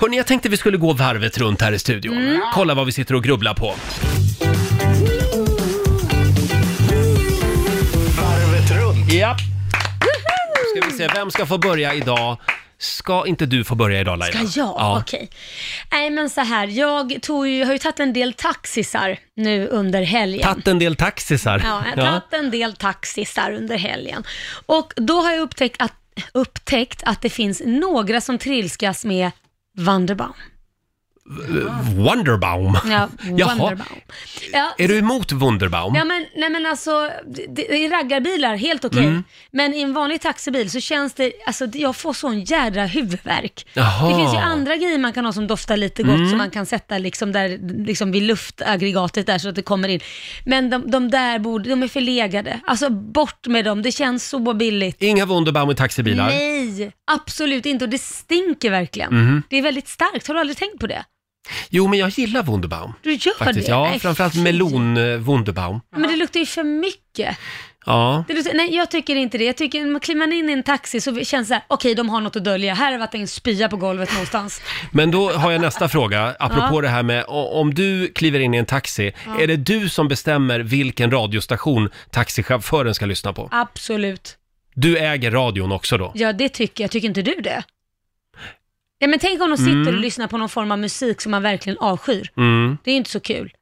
Hörni, jag tänkte vi skulle gå varvet runt här i studion. Mm. Kolla vad vi sitter och grubblar på. Varvet runt. Ja. Ska vi se, vem ska få börja idag? Ska inte du få börja idag Laila? Ska jag? Okej. Nej, men så här. Jag tog ju, har ju tagit en del taxisar nu under helgen. Tatt en del taxisar. Ja, jag har tagit en del taxisar under helgen. Och då har jag upptäckt att, upptäckt att det finns några som trilskas med Vanderbaum. Wonderbaum. Ja, Jaha. Vanderbaum. Ja, Är du emot Wunderbaum? ja, men, nej men alltså, det, det är raggarbilar, helt okej. Mm. Men i en vanlig taxibil så känns det, alltså jag får sån jädra huvudvärk. Jaha. Mm. Det finns ju andra grejer man kan ha som doftar lite gott, som man kan sätta liksom där, liksom vid luftaggregatet där så att det kommer in. Men de, de där borde, de är förlegade. Alltså bort med dem, det känns så billigt. Inga Wunderbaum i taxibilar? Nej, absolut inte. Och det stinker verkligen. Mhm. Det är väldigt starkt, har du aldrig tänkt på det? Jo, men jag gillar Wunderbaum. Du gör Faktiskt. det? Ja, Nej, framförallt eh, fy. melon-Wunderbaum. Men det luktar ju för mycket. Ja. Det luktar, nej, jag tycker inte det. Jag tycker, man kliver man in i en taxi så känns det så här, okej, de har något att dölja. Här har varit en spya på golvet någonstans. Men då har jag nästa fråga, apropå Ja. det här med o- om du kliver in i en taxi, är det du som bestämmer vilken radiostation taxichauffören ska lyssna på? Absolut. Du äger radion också då? Ja, det tycker jag. Tycker inte du det? Ja, men tänk om de sitter och lyssnar på någon form av musik som man verkligen avskyr. Mm. Det är ju inte så kul.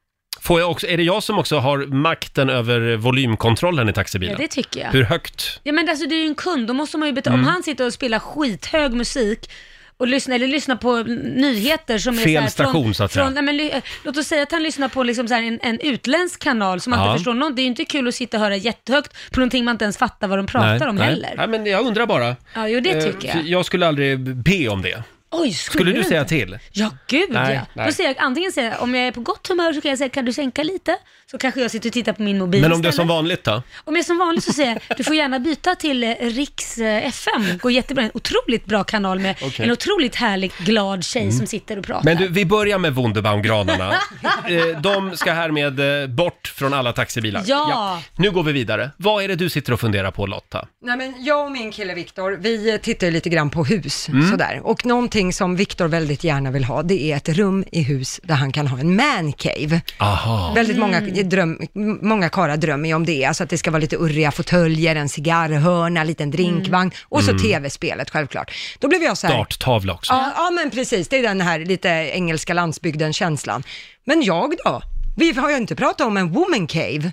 Får jag också, är det jag som också har makten över volymkontrollen i Ja, taxibilen? det tycker jag. Hur högt? Ja, men alltså, du är ju en kund. Då måste man ju Mm. betala. Om han sitter och spelar skithög musik och lyssnar, eller lyssnar på nyheter som är Fel så här, station, från, så att säga. Från, nej, men, ly- eh, låt oss säga att han lyssnar på liksom så här en, en utländsk kanal som man Ja. inte förstår någon. Det är ju inte kul att sitta och höra jättehögt på någonting man inte ens fattar vad de pratar om heller. Nej, men jag undrar bara. Ja, jo, det Eh, tycker jag. för Jag skulle aldrig be om det. Oj, Skulle du inte? säga till? Ja, gud Nej, ja. nej. Då säger jag, antingen säger jag, om jag är på gott humör så kan jag säga, kan du sänka lite? Så kanske jag sitter och tittar på min mobil Men om det är istället. som vanligt då? Om jag är som vanligt så säger jag, du får gärna byta till eh, Riks eh, FM. Går jättebra. En otroligt bra kanal med Okej. Mm. en otroligt härlig, glad tjej som sitter och pratar. Men du, vi börjar med Wunderbaumgranarna. Eh, De ska härmed eh, bort från alla taxibilar. Ja. Nu går vi vidare. Vad är det du sitter och funderar på Lotta? Nej, men jag och min kille Viktor, vi eh, tittar ju lite grann på hus sådär. Och någonting som Viktor väldigt gärna vill ha, det är ett rum i hus där han kan ha en mancave. Aha. Väldigt många, dröm, m- många karlar drömmer ju om det, alltså att det ska vara lite urriga fåtöljer, en cigarrhörna, en liten drinkvagn och så tv-spelet självklart. Då blev jag så här, Darttavla också. Ja, ja, men precis. Det är den här lite engelska landsbygden-känslan. Men jag då? Vi har ju inte pratat om en woman cave.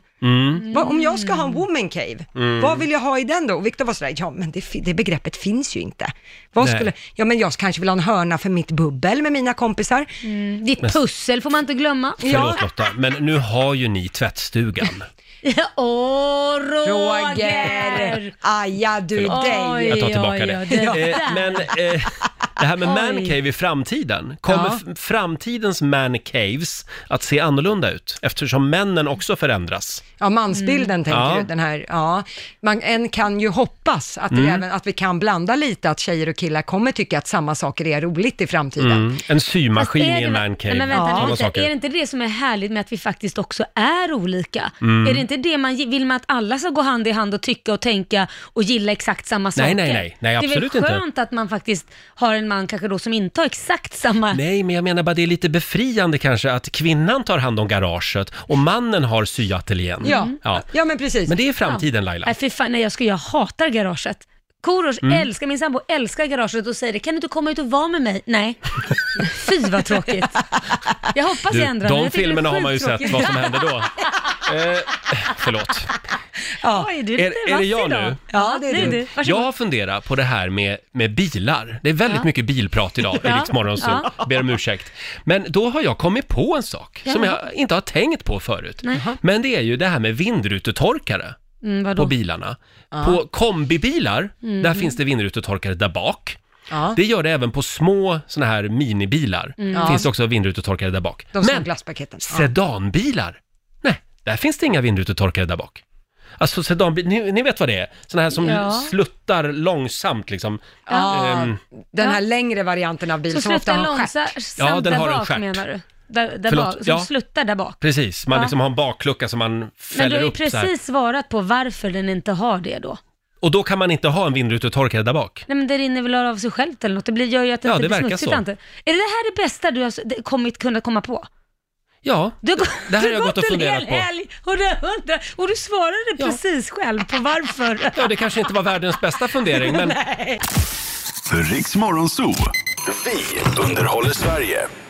Vad- om jag ska ha en woman cave, vad vill jag ha i den då? Och Viktor var sådär, ja men det, fi- det begreppet finns ju inte. Vad Nej. skulle, ja men jag kanske vill ha en hörna för mitt bubbel med mina kompisar. Mm, Ditt pussel får man inte glömma. Förlåt Lotta, men nu har ju ni tvättstugan. Ja, Åh, Roger! Aja du dig! Jag tar Oj, tillbaka oj, det. oj, det Eh, där. Men eh, det här med Oj. mancave i framtiden, kommer Ja. f- framtidens mancaves att se annorlunda ut? Eftersom männen också förändras. Ja, mansbilden tänker Ja. du, den här, ja. Man, en kan ju hoppas att, det även, att vi kan blanda lite, att tjejer och killar kommer tycka att samma saker är roligt i framtiden. Mm. En symaskin Fast är i en det- mancave. Nej, Men vänta Sådana nu lite. saker. Är det inte det som är härligt med att vi faktiskt också är olika? Mm. Är det inte det man gi- vill man att alla ska gå hand i hand och tycka och tänka och gilla exakt samma Nej, saker? nej, nej. Nej, absolut Det är inte. väl skönt att man faktiskt har en man kanske då som inte har exakt samma... Nej, men jag menar bara det är lite befriande kanske att kvinnan tar hand om garaget och mannen har syateljén. Mm. Ja. ja. ja, men precis. Men det är framtiden Laila. Nej, för fan, nej jag, ska, jag hatar garaget. Korosh Mm. älskar, min sambo älskar garaget och säger det, kan du inte komma ut och vara med mig? Nej. Fy vad tråkigt. Jag hoppas Du, jag ändrar mig. de Jag tycker det är filmerna har man ju sjukt sett, tråkigt. vad som hände då. Eh, förlåt. Oj, du är, Är- lite är det vass jag idag. nu? Ja, det är Nej, du. du. Varsågod. Jag har funderat på det här med, med bilar. Det är väldigt Ja. mycket bilprat idag i Ja. Rix Morgonzoo. Ber om ursäkt. Men då har jag kommit på en sak som Jaha. jag inte har tänkt på förut. Nej. Men det är ju det här med vindrutetorkare. Mm, vadå? på Mm. bilarna. På kombibilar, där finns det vindrutetorkare där bak. Ja. Det gör det även på små såna här minibilar. Mm. Finns det också vindrutetorkare där bak. De små Men glasspaketen. Ja. sedanbilar, nej, där finns det inga vindrutetorkare där bak. Alltså sedanbilar, ni, ni vet vad det är? Såna här som Ja. sluttar långsamt liksom. Ja, Ehm, den här Ja. längre varianten av bil Så som ofta sluttar har en stjärt. långsamt Ja, den där har en bak stjärt. menar du? Där, där Förlåt, bak, som ja. sluttar där bak. precis, man Ja. liksom har en baklucka som man Men du fäller har ju upp så här. precis svarat på varför den inte har det då. Och då kan man inte ha en vindrutetorkare där bak. Nej men det rinner väl av sig självt eller något. Det blir, gör ju att det Ja, inte det blir verkar smutsigt så. Ante. Är det här det bästa du har s- det- kommit, kunnat komma på? Ja, Du har, gå- det här har du jag gått och en funderat hel på. helg och du har undrat, och du svarade Ja. precis själv på varför. ja, det kanske inte var världens bästa fundering, men Riks Morgonzoo. Vi underhåller Sverige.